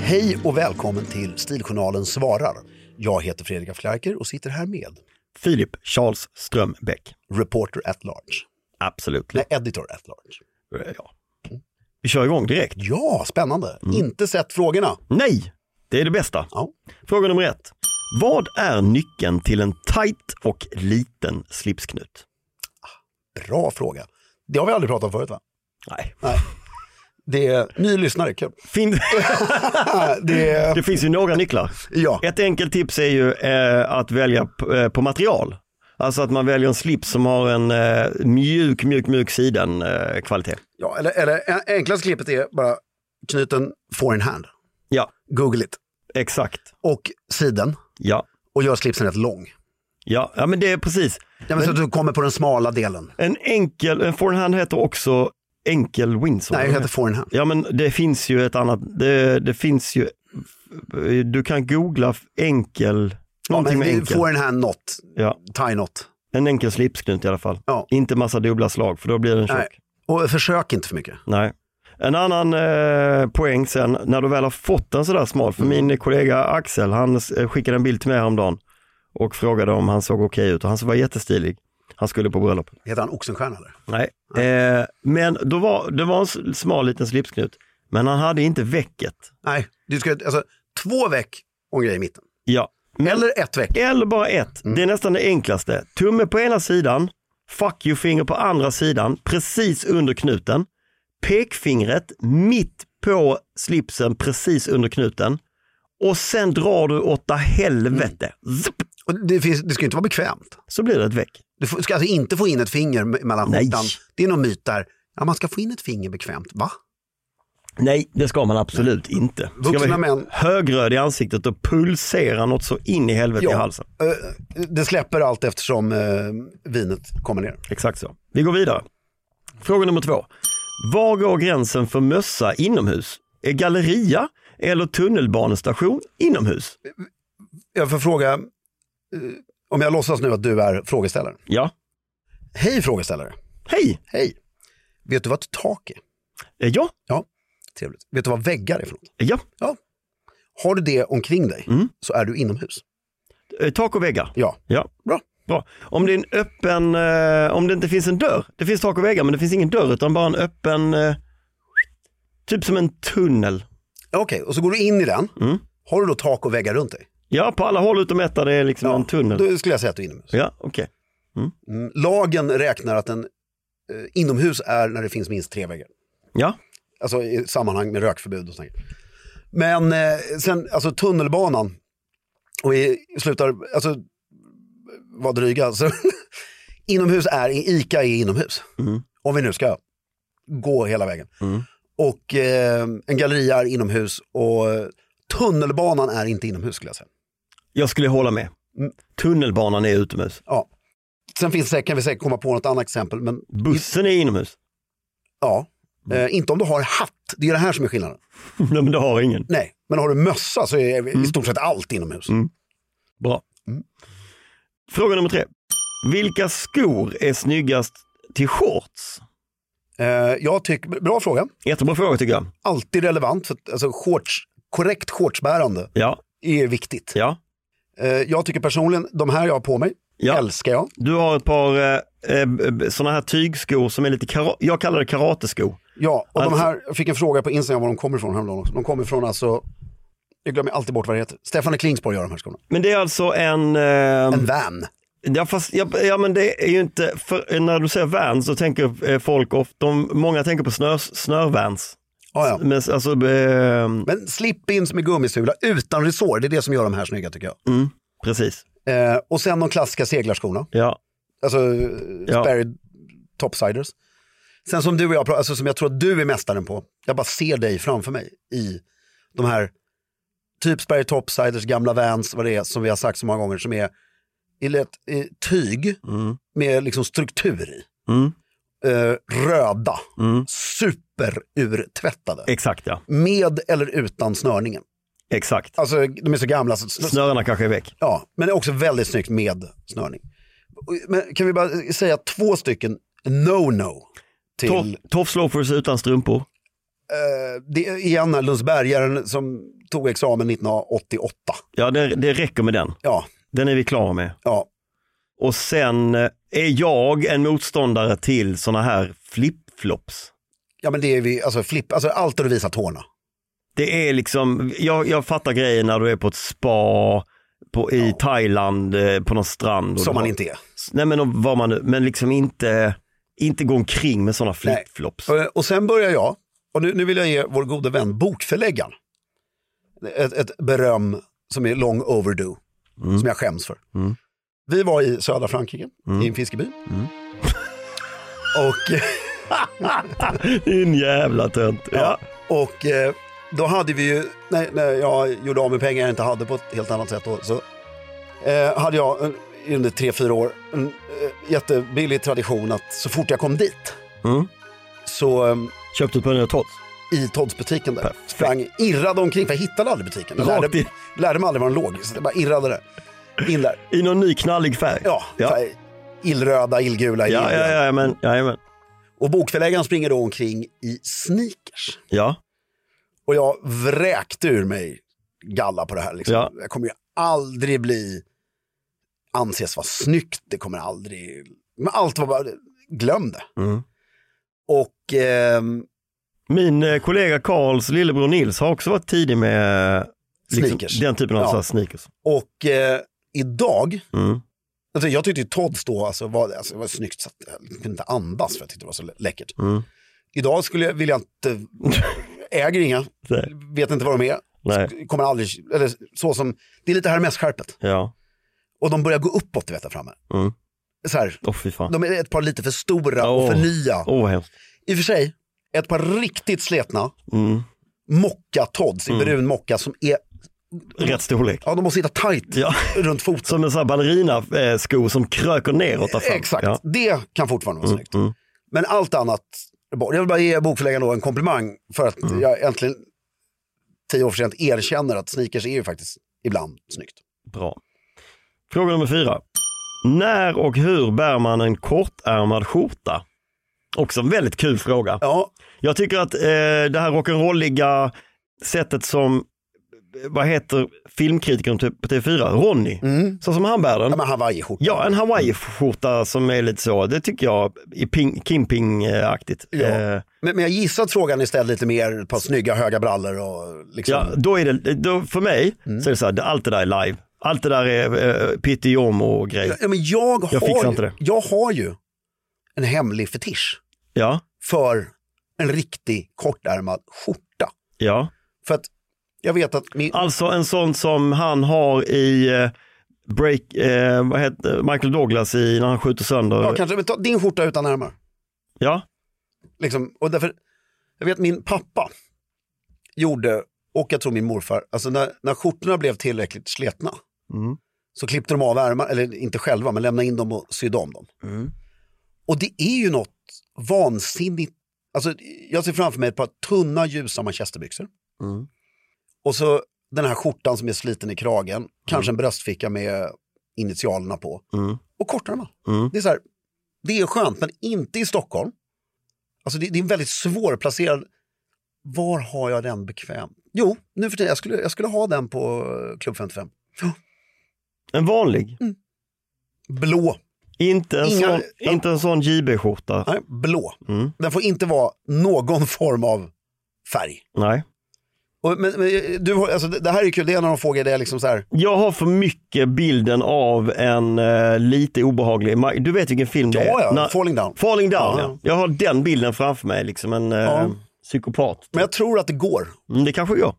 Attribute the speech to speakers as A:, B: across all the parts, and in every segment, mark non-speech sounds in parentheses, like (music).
A: Hej och välkommen till Stiljournalen svarar. Jag heter Fredrik af Klerker och sitter här med
B: Filip Charles Strömbäck.
A: reporter at large.
B: Absolut. Eh,
A: Nej, editor at large.
B: Ja. Vi kör igång direkt.
A: Ja, spännande.
B: Mm.
A: Inte sett frågorna.
B: Nej, det är det bästa.
A: Ja.
B: Fråga nummer ett. Vad är nyckeln till en tight och liten slipsknut?
A: Bra fråga. Det har vi aldrig pratat om förut va?
B: Nej,
A: Nej. Det är ny lyssnare,
B: (laughs)
A: kul.
B: fin...
A: Det är,
B: det finns ju några nycklar.
A: ja.
B: Ett enkelt tips är ju eh, att välja p- eh, på material. Alltså att man väljer en slips som har en eh, mjuk, mjuk, mjuk sidan eh, kvalitet.
A: ja, eller, eller en- enklaste klippet är bara knuten foreign hand.
B: Ja,
A: Google it.
B: exakt.
A: Och siden.
B: Ja,
A: Och gör slipsen rätt lång.
B: ja, ja men det är precis.
A: Ja, men så att du kommer på den smala delen.
B: En enkel, en forehand heter också enkel Windsor.
A: Nej, det heter foreign hand.
B: Ja men det finns ju ett annat, det, det finns ju, du kan googla enkel,
A: Ja,
B: någonting
A: men
B: med
A: det är
B: enkel.
A: foreign hand not,
B: Ja,
A: tie not.
B: en enkel slipsknut i alla fall.
A: Ja.
B: Inte massa dubbla slag för då blir den tjock.
A: Nej.
B: Nej.
A: Och försök inte för mycket.
B: En annan eh, poäng sen, när du väl har fått en sådär smal, för min kollega Axel, han eh, skickade en bild till mig häromdagen och frågade om han såg okej ut och han var jättestilig. Han skulle på bröllop.
A: Heter han Oxenstierna eller?
B: Nej. Eh, men då var, det var en s- smal liten slipsknut, men han hade inte väcket.
A: Nej, du ska, alltså, två veck och en grej i mitten.
B: Ja. Men-
A: Eller ett veck.
B: Eller bara ett. Det är nästan det enklaste. Tumme på ena sidan, fuck you finger på andra sidan, precis under knuten. Pekfingret mitt på slipsen, precis under knuten. Och sen drar du åtta helvete. Zup!
A: Och det, finns, det ska ju inte vara bekvämt.
B: Så blir det ett väck.
A: Du får- ska alltså inte få in ett finger me- mellan
B: Nej.
A: skjortan. Det är någon myt där. Ja, man ska få in ett finger bekvämt. Va?
B: Nej, det ska man absolut inte. Ska
A: Vuxna
B: vara
A: män-
B: högröd i ansiktet och pulsera något så in i helvete i
A: Ja.
B: halsen.
A: Eh, Det släpper allt eftersom eh, vinet kommer ner.
B: Exakt så. Vi går vidare. Fråga nummer två. Var går gränsen för mössa inomhus? Är galleria eller tunnelbanestation inomhus?
A: Jag får fråga, eh, om jag låtsas nu att du är frågeställare.
B: Ja.
A: Hej frågeställare.
B: Hej!
A: Hej. Vet du vad ett tak är?
B: Eh, Ja, Eh,
A: Ja, trevligt. Vet du vad väggar är för något?
B: ja.
A: Ja. Har du det omkring dig så är du inomhus.
B: Eh, Tak och väggar.
A: Ja,
B: Ja,
A: bra.
B: bra. Om det är en öppen, eh, om det inte finns en dörr. Det finns tak och väggar men det finns ingen dörr utan bara en öppen, eh, typ som en tunnel.
A: Okej, och så går du in i den. Har du då tak och väggar runt dig?
B: Ja, på alla håll utom ett där det är liksom en tunnel.
A: Då skulle jag säga att du är inomhus.
B: Ja, okej.
A: Mm, Lagen räknar att en eh, inomhus är när det finns minst tre väggar.
B: Ja,
A: Alltså i sammanhang med rökförbud och sånt. där. Men eh, sen, alltså tunnelbanan. Och vi slutar, alltså var dryga. Så (laughs) inomhus är, ICA är inomhus. Om vi nu ska gå hela vägen. Och eh, en galleria är inomhus och eh, tunnelbanan är inte inomhus skulle jag säga.
B: jag skulle hålla med.
A: Mm.
B: Tunnelbanan är utomhus.
A: Ja. Sen finns det, kan vi säkert komma på något annat exempel, men
B: Bussen är inomhus.
A: ja.
B: Mm.
A: Eh, inte om du har hatt, det är det här som är skillnaden.
B: (laughs) Nej men det har ingen.
A: Nej, men har du mössa så är
B: Mm.
A: i stort sett allt inomhus.
B: Bra. Fråga nummer tre. Vilka skor är snyggast till shorts?
A: Eh, jag tycker, bra fråga,
B: Jättebra fråga tycker jag.
A: alltid relevant. För att, alltså, shorts, korrekt shortsbärande
B: Ja,
A: är viktigt.
B: ja.
A: Eh, jag tycker personligen, de här jag har på mig,
B: Ja.
A: älskar jag.
B: Du har ett par eh, sådana här tygskor som är lite, kara- jag kallar det karatesko.
A: Ja, och
B: Alltså-
A: de här, jag fick en fråga på Instagram var de kommer ifrån häromdagen också. De kommer ifrån alltså, jag glömmer alltid bort vad det heter, Stefan Klingsborg gör de här skorna.
B: Men det är alltså en, eh,
A: En van.
B: ja, fast, ja, ja men det är ju inte, för, när du säger vans så tänker eh, folk ofta, de, många tänker på snör, snörvans.
A: Ja, ja.
B: Men alltså, eh,
A: Men slip-ins med gummisula utan resår, det är det som gör de här snygga tycker jag.
B: precis.
A: Eh, och sen de klassiska seglarskorna,
B: Ja,
A: alltså
B: Ja.
A: ja. Sperry Topsiders. Sen som du och jag, pra- alltså som jag tror att du är mästaren på, jag bara ser dig framför mig i de här typ Sperry Topsiders, gamla Vans, vad det är som vi har sagt så många gånger, som är i lätt i tyg med liksom struktur i.
B: Mm.
A: Eh, röda,
B: Mm.
A: superurtvättade.
B: exakt ja.
A: Med eller utan snörningen.
B: Exakt.
A: Alltså de är så gamla så snö-
B: Snörena kanske är väck.
A: Ja, men det är också väldigt snyggt med snörning. Och- Men kan vi bara säga två stycken no-no? Till,
B: Toff- Toffs loafers utan strumpor.
A: eh, det är igen här Lundsbergaren som tog examen 1988.
B: Ja, det, det räcker med den.
A: Ja,
B: Den är vi klara med.
A: ja.
B: Och sen eh, är jag en motståndare till sådana här flipflops.
A: ja men det är vi, alltså, flipp, alltså allt där du visar tårna.
B: Det är liksom, jag, jag fattar grejen när du är på ett spa på, i Thailand eh, på någon strand. och
A: Som
B: du
A: man
B: har-
A: inte är.
B: Nej men och vad man nu, men liksom inte, inte gå omkring med sådana
A: Nej.
B: flipflops.
A: Eh, Och sen börjar jag, och nu, nu vill jag ge vår gode vän bokförläggaren ett, ett beröm som är long overdue, som jag skäms för.
B: Mm.
A: Vi var i södra Frankrike, i en fiskeby. och, eh,
B: Din jävla tönt. Ja.
A: och eh, då hade vi ju, när, när jag gjorde av med pengar jag inte hade på ett helt annat sätt, då, så eh, hade jag eh, i under tre, fyra år en eh, jättebillig tradition att så fort jag kom dit,
B: Mm.
A: så eh,
B: Köpte ett par nya tots.
A: i Todds-butiken där. Sprang, irrade omkring, för jag hittade aldrig butiken. Jag
B: Rakt
A: lärde,
B: i-
A: lärde mig aldrig var den låg, så jag bara irrade där. In där.
B: I någon ny knallig färg.
A: Ja,
B: ja.
A: Så här, illröda, illgula,
B: Ja,
A: illgröna.
B: ja, ja, men, ja, men.
A: Och bokförläggaren springer då omkring i sneakers.
B: ja.
A: Och jag vräkte ur mig galla på det här. Liksom.
B: Ja.
A: Jag kommer ju aldrig bli anses vara snyggt, det kommer aldrig... Men allt var bara, glöm det.
B: Mm.
A: Och ehm,
B: Min eh, kollega Karls lillebror Nils har också varit tidig med eh,
A: Sneakers.
B: den typen av
A: Ja.
B: så här sneakers.
A: och eh, idag
B: Mm.
A: Alltså, jag tyckte ju Todds då alltså, var, alltså, det var snyggt så att jag kunde inte andas för jag tyckte det var så lä- läckert.
B: Mm.
A: Idag skulle jag, vill jag
B: (laughs)
A: inte, äger inga,
B: Nej.
A: vet inte vad de är,
B: Nej.
A: kommer aldrig, eller så som, det är lite Hermes-skärpet.
B: Ja,
A: Och de börjar gå uppåt du vet där framme.
B: Mm.
A: Så här,
B: åh fy fan.
A: de är ett par lite för stora och för
B: Åh.
A: nya.
B: Åh vad hemskt.
A: I och för sig, ett par riktigt sletna
B: Mm.
A: mocka-Todds i brun mocka som är,
B: Rätt storlek.
A: ja de måste sitta tajt
B: Ja.
A: runt foten.
B: Som en sån här ballerinasko som kröker neråt där fram.
A: Exakt,
B: Ja.
A: det kan fortfarande vara snyggt.
B: mm.
A: Men allt annat är bort. Jag vill bara ge bokförläggaren då en komplimang för att
B: Mm.
A: jag äntligen tio år för sent erkänner att sneakers är ju faktiskt ibland snyggt.
B: Bra. Fråga nummer fyra. När och hur bär man en kortärmad skjorta? Också en väldigt kul fråga.
A: Ja,
B: Jag tycker att eh, det här rock'n'rolliga sättet som, vad heter filmkritikern typ på TV4, Ronny, så som han bär
A: Mm. ja
B: den.
A: men hawaiiskjorta.
B: Mm. Ja, en hawaiiskjorta som är lite så, det tycker jag är ping, Kim Ping-aktigt.
A: Ja.
B: Eh,
A: Men, men jag gissar att frågan är ställd lite mer på snygga höga brallor och liksom.
B: ja, då är det, då, för mig
A: Mm.
B: så är det så här, det- allt det där är live. Allt det där är eh, pittyom och grejer.
A: Ja, men jag,
B: Jag fixar
A: har ju,
B: inte det.
A: jag har ju en hemlig fetisch
B: Ja,
A: för en riktig kortärmad skjorta.
B: ja.
A: För att jag vet att min,
B: Alltså en sån som han har i eh, Break, eh, vad heter Michael Douglas i när han skjuter sönder.
A: ja, kanske, men ta din skjorta utan ärmar.
B: ja.
A: Liksom, och därför, jag vet min pappa gjorde, och jag tror min morfar, alltså när, när skjortorna blev tillräckligt sletna
B: Mm.
A: så klippte de av ärmar, eller inte själva, men lämnade in dem och sydde om dem.
B: Mm.
A: Och det är ju något vansinnigt, alltså jag ser framför mig ett par tunna ljusa manchesterbyxor.
B: Mm.
A: Och så den här skjortan som är sliten i kragen, kanske en bröstficka med initialerna på.
B: Mm.
A: Och kortärmar.
B: Mm.
A: Det är så här, det är skönt, men inte i Stockholm. Alltså det, det är en väldigt svårplacerad... Var har jag den bekväm? Jo, nu för tiden, jag skulle, jag skulle ha den på eh, Klubb 55.
B: En vanlig,
A: Blå,
B: inte en
A: Inga-
B: sån, inte en sån JB-skjorta.
A: nej, blå.
B: Mm.
A: Den får inte vara någon (laughs) form av färg.
B: Nej.
A: Och, men, men eh, du, har- alltså, det det här är kul, det är en av de frågor där jag liksom så här,
B: Jag har för mycket bilden av en eh, lite obehaglig, Ma- du vet vilken film det
A: ja
B: är?
A: ja,
B: När-
A: falling down.
B: Falling down,
A: Ja.
B: ja. Jag har den bilden framför mig, liksom en eh,
A: Ja.
B: psykopat.
A: Men jag tror att det går.
B: Mm, det kanske jag.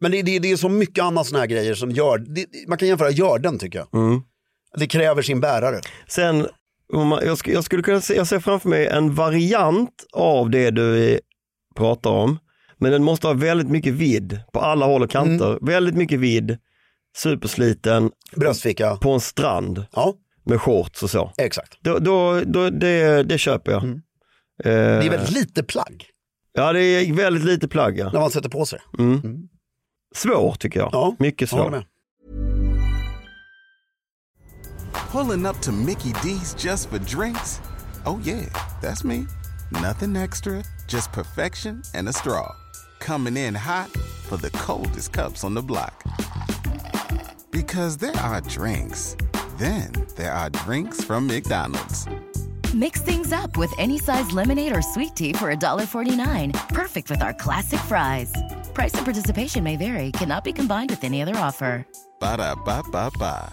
A: Men det, det, det är så mycket annat sådana här grejer som gör, det, det- man kan jämföra görden tycker jag.
B: Mm.
A: Det kräver sin bärare.
B: Sen, om man- jag, sk- jag skulle kunna se, jag ser framför mig en variant av det du eh, pratar om, men den måste ha väldigt mycket vidd på alla håll och kanter.
A: Mm.
B: Väldigt mycket vidd, supersliten,
A: Bröstficka,
B: på en strand
A: ja
B: med shorts och så.
A: exakt.
B: Då, då, då, det, det köper jag.
A: Mm.
B: Eh,
A: Det är väldigt lite plagg
B: Ja, det är väldigt lite plagg. Ja.
A: när man sätter på sig.
B: Mm.
A: Mm.
B: Svår tycker jag.
A: Ja,
B: Mycket
A: Jag håller
B: svår.
A: med.
C: Pulling up to Mickey D's just for drinks? Oh, yeah, that's me. Nothing extra, just perfection and a straw. Coming in hot for the coldest cups on the block. Because there are drinks, then there are drinks from McDonald's.
D: Mix things up with any size lemonade or sweet tea for $1.49. Perfect with our classic fries. Price and participation may vary, cannot be combined with any other offer.
C: Ba da ba ba ba.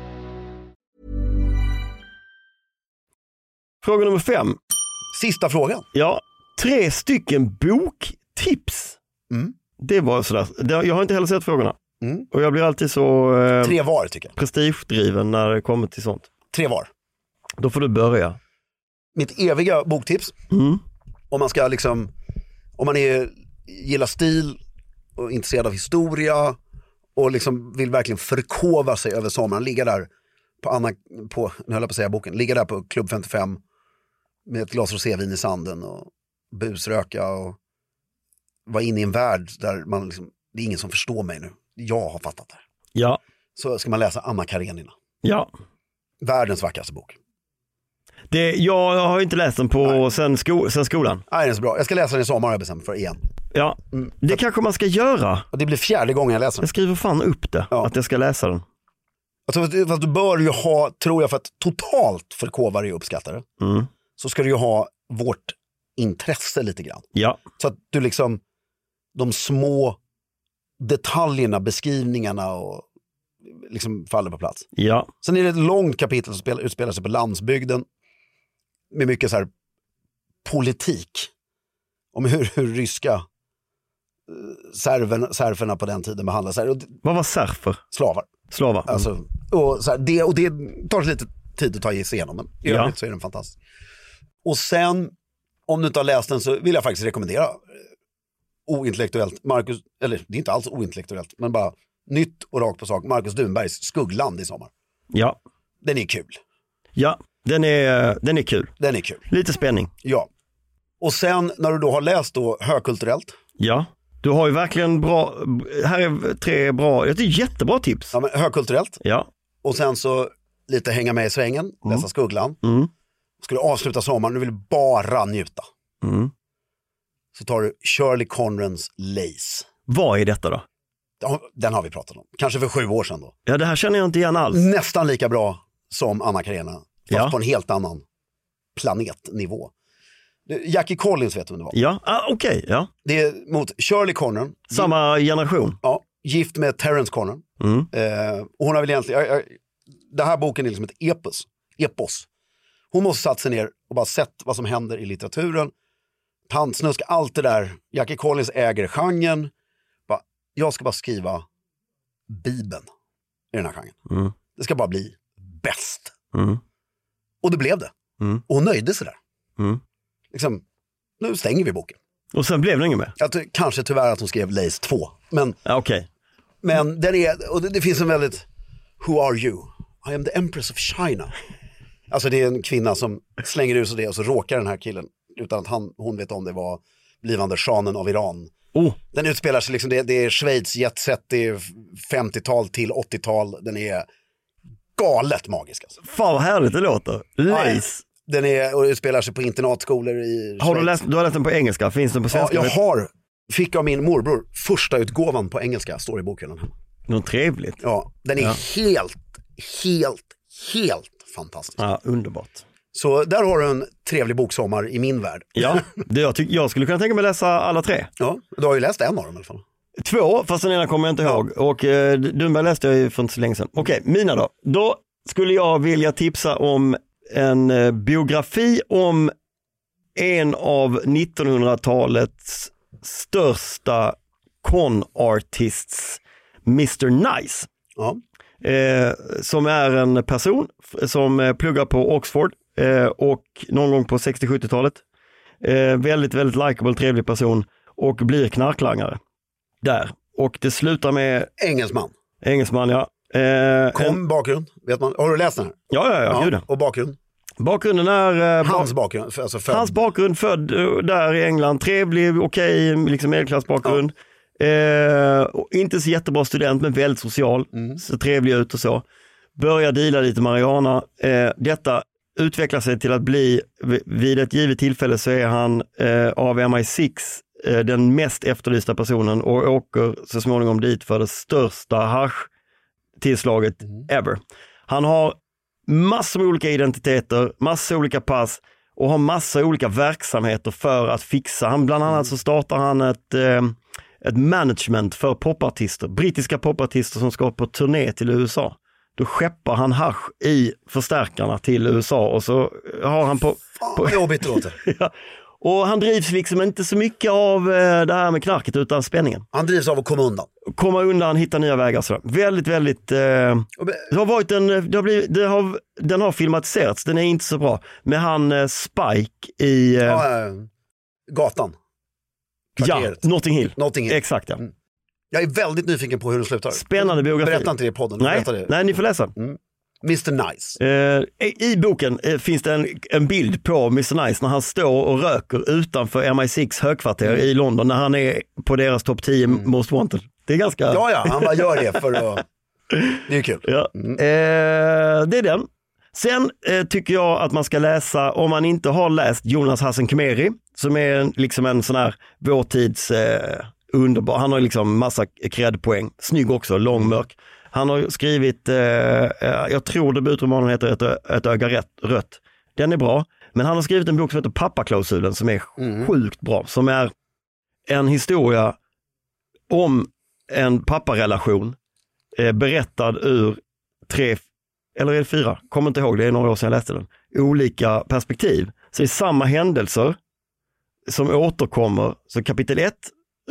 B: Fråga nummer fem.
A: Sista frågan.
B: Ja, tre stycken boktips.
A: Mm.
B: Det var sådär, det- jag har inte heller sett frågorna.
A: Mm.
B: Och jag blir alltid så eh,
A: Tre var tycker jag.
B: prestigedriven när det kommer till sånt.
A: Tre var.
B: Då får du börja.
A: Mitt eviga boktips,
B: Mm.
A: om man ska liksom, om man är, gillar stil och är intresserad av historia och liksom vill verkligen förkova sig över sommaren, ligga där på, Anna, på nu höll jag på att säga boken, ligga där på Klubb 55 med ett glas rosévin i sanden och busröka och vara inne i en värld där man liksom, det är ingen som förstår mig nu. Jag har fattat det. här.
B: Ja,
A: Så ska man läsa Anna Karenina,
B: ja.
A: världens vackraste bok.
B: Det, jag, jag har ju inte läst den på sen, sko, sen skolan.
A: Nej, den är så bra. Jag ska läsa den i sommar har jag bestämt mig för igen.
B: Ja,
A: Mm.
B: det kanske man ska göra.
A: Och det blir fjärde gången jag läser den.
B: Jag skriver fan upp det,
A: Ja.
B: att jag ska läsa den.
A: Alltså, fast- fast du bör ju ha, tror jag, för att totalt förkova dig och uppskatta det,
B: Mm.
A: så ska du ju ha vårt intresse lite grann.
B: Ja,
A: Så att du liksom, de små detaljerna, beskrivningarna och liksom faller på plats.
B: ja,
A: Sen är det ett långt kapitel som spelar, utspelar sig på landsbygden med mycket så här politik om hur, hur ryska eh, serven, serferna på den tiden behandlade sig, och d-
B: vad var serfer?
A: slavar.
B: Slavar? Mm.
A: Alltså, och, så här, det, och det tar lite tid att ta sig igenom, men i
B: Ja.
A: övrigt så är den fantastisk. Och sen, om du inte har läst den så vill jag faktiskt rekommendera eh, ointellektuellt, Marcus, eller det är inte alls ointellektuellt, men bara nytt och rakt på sak, Marcus Dunbergs Skuggland i sommar.
B: Ja,
A: Den är kul,
B: ja. Den, är, den är kul.
A: den är kul,
B: Lite spänning.
A: ja. Och sen när du då har läst då högkulturellt,
B: Ja, du har ju verkligen bra, här är tre bra, jag tycker jättebra tips.
A: ja, men högkulturellt,
B: Ja,
A: och sen så lite hänga med i svängen, läsa Skuggland.
B: Mm.
A: Skulle avsluta sommaren, du vill bara njuta.
B: Mm.
A: Så tar du Shirley Conrans Lace.
B: vad är detta då?
A: Den- Den har vi pratat om, kanske för sju år sedan då.
B: Ja, det här känner jag inte igen alls.
A: Nästan lika bra som Anna Karena, fast
B: Ja.
A: på en helt annan planetnivå. Du, Jackie Collins vet du vem det var.
B: Ja, ah, okej, ja.
A: Det är mot Shirley Conan,
B: Samma generation.
A: ja, gift med Terence Conan.
B: Mm.
A: Eh, och hon har väl egentligen, jag, jag, den här boken är liksom ett epos. epos. Hon måste satt sig ner och bara sett vad som händer i litteraturen. Tantsnusk, allt det där. Jackie Collins äger genren. Bara, jag ska bara skriva Bibeln i den här genren.
B: Mm.
A: Det ska bara bli bäst.
B: Mm.
A: Och det blev det.
B: Mm.
A: Och hon nöjde sig där.
B: Mm.
A: Liksom, nu stänger vi boken.
B: Och sen blev det inget mer.
A: Jag ty- kanske tyvärr att hon skrev Lace 2. Men
B: Ja, okej.
A: Men den är, och det, det finns en väldigt, who are you? I am the empress of China. Alltså det är en kvinna som slänger ur sig det och så råkar den här killen, utan att han, hon vet om det, var blivande shahen av Iran.
B: Oh,
A: Den utspelar sig liksom, det, det är Schweiz jetset, det är 50-tal till 80-tal, den är galet magisk. Alltså.
B: fan vad härligt det låter. Lace.
A: Den är, och utspelar sig på internatskolor i
B: Har du,
A: Schweiz.
B: läst, du har läst den på engelska, finns den på
A: Ja,
B: svenska?
A: jag har, fick av min morbror, första utgåvan på engelska, står i bokhyllan hemma.
B: Något trevligt.
A: Ja, den är
B: Ja.
A: helt, helt, helt fantastisk.
B: Ja, underbart.
A: Så där har du en trevlig boksommar i min värld.
B: Ja, det jag, tyck, jag skulle kunna tänka mig läsa alla tre.
A: Ja, du har ju läst en av dem i alla fall.
B: Två, fast den ena kommer jag inte ihåg. Och eh, Dunberg läste jag ju för inte så länge sedan. Okej, mina då. Då skulle jag vilja tipsa om en eh, biografi om en av 1900-talets största con-artists, Mr Nice.
A: Ja,
B: eh, som är en person f- som eh, pluggar på Oxford eh, och någon gång på 60-70-talet. Eh, väldigt, väldigt likeable, trevlig person och blir knarklangare där och det slutar med
A: Engelsman.
B: engelsman, ja. Eh,
A: Kom,
B: en-
A: bakgrund. Vet man. Har du läst den här?
B: ja, ja, ja, gud ja.
A: Och bakgrund.
B: Bakgrunden är eh,
A: Hans bakgrund. Alltså född.
B: Hans bakgrund, född eh, där i England, trevlig, okej, liksom medelklassbakgrund. Eh, och inte så jättebra student men väldigt social, så trevlig ut och så. Börjar deala lite marijuana. Eh, detta utvecklar sig till att bli, v- vid ett givet tillfälle så är han eh, av MI6 eh, den mest efterlysta personen och åker så småningom dit för det största hasch-tillslaget ever. Han har massor med olika identiteter, massor olika pass och har massa olika verksamheter för att fixa. Han, bland annat så startar han ett, eh, ett management för popartister, brittiska popartister som ska på turné till USA. Då skeppar han hasch i förstärkarna till USA och så eh, har han på...
A: Fan vad jobbigt det låter.
B: Ja, och han drivs liksom inte så mycket av eh, det här med knarket utan spänningen.
A: Han drivs av att komma undan.
B: Komma undan, hitta nya vägar. Så. Väldigt, väldigt... Eh,
A: Och be-
B: det har varit en, det har blivit, det har, den har filmatiserats, den är inte så bra. Med han eh, Spike i eh,
A: Ja, ja, ja. gatan.
B: ja,
A: Kvarteret. Mm.
B: Notting Hill.
A: Notting Hill.
B: Exakt ja.
A: Jag är väldigt nyfiken på hur den slutar.
B: Spännande biografi.
A: Berätta inte det i podden.
B: nej,
A: Berätta det. Mm.
B: nej, ni får läsa.
A: Mr Nice.
B: Eh, I boken eh, finns det en, en bild på Mr Nice när han står och röker utanför MI6
A: Mm.
B: högkvarter i London när han är på deras topp 10 Most Wanted. Det är ganska...
A: Ja, ja, han bara gör det för
B: (laughs)
A: att... Det är ju kul. Mm.
B: Ja. Eh, det är den. Sen eh, tycker jag att man ska läsa, om man inte har läst Jonas Hassen Khemeri, som är en- liksom en sån här vår tids eh, underbar, han har ju liksom massa cred-poäng, snygg också, lång, mörk. Han har ju skrivit, eh, eh, jag tror debutromanen heter Ett, ö- ett öga rätt, rött. Den är bra, men han har skrivit en bok som heter Pappaklausulen som är sjukt bra, som är en historia om en papparelation eh, berättad ur tre, eller är det fyra? Kommer inte ihåg, det är några år sedan jag läste den. Olika perspektiv. Så det är samma händelser som återkommer. Så kapitel ett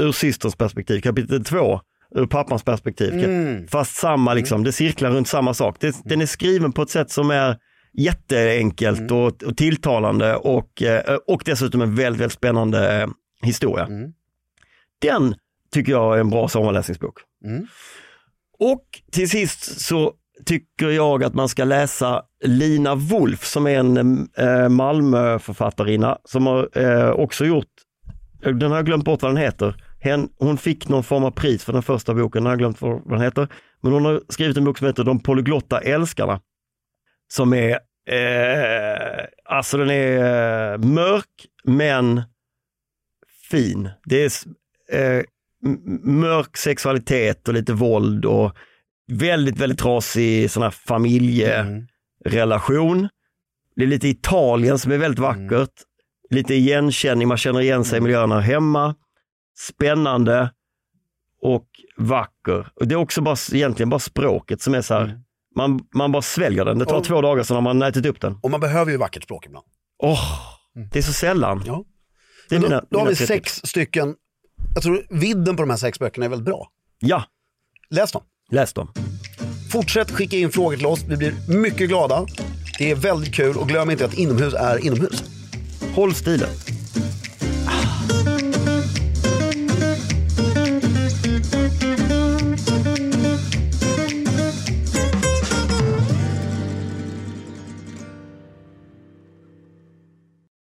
B: ur systerns perspektiv, kapitel två ur pappans perspektiv.
A: Mm.
B: Fast samma, liksom, det cirklar runt samma sak. Det, Den är skriven på ett sätt som är jätteenkelt och, och tilltalande och, eh, och dessutom en väldigt, väldigt spännande eh, historia. Den tycker jag är en bra sommarläsningsbok. Och till sist så tycker jag att man ska läsa Lina Wolf som är en eh, Malmöförfattarinna som har eh, också gjort, den har jag glömt bort vad den heter, Hen, hon fick någon form av pris för den första boken, den har jag glömt vad den heter, men hon har skrivit en bok som heter De polyglotta älskarna som är, eh, alltså den är eh, mörk men fin. Det är s- eh, m- mörk sexualitet och lite våld och väldigt, väldigt trasig sån här
A: eh,
B: mm. familjerelation. Det är lite Italien som är väldigt
A: Mm.
B: vackert. Lite igenkänning, man känner igen sig i miljön här hemma. Spännande och vacker. Och det är också bara, egentligen bara språket som är så här, man, man bara sväljer den. Det tar
A: Mm. Och-
B: två dagar sen har man ätit upp den.
A: Och man behöver ju vackert språk ibland.
B: Åh, det är så sällan.
A: Mm. Ja.
B: Det är
A: Men
B: mina,
A: då, då har
B: mina
A: vi
B: tre
A: sex
B: tips.
A: stycken, jag tror vidden på de här sex böckerna är väldigt bra.
B: Ja,
A: Läs dem.
B: läs dem.
A: Fortsätt skicka in frågor till oss, vi blir mycket glada. Det är väldigt kul och glöm inte att inomhus är inomhus.
B: Håll stilen.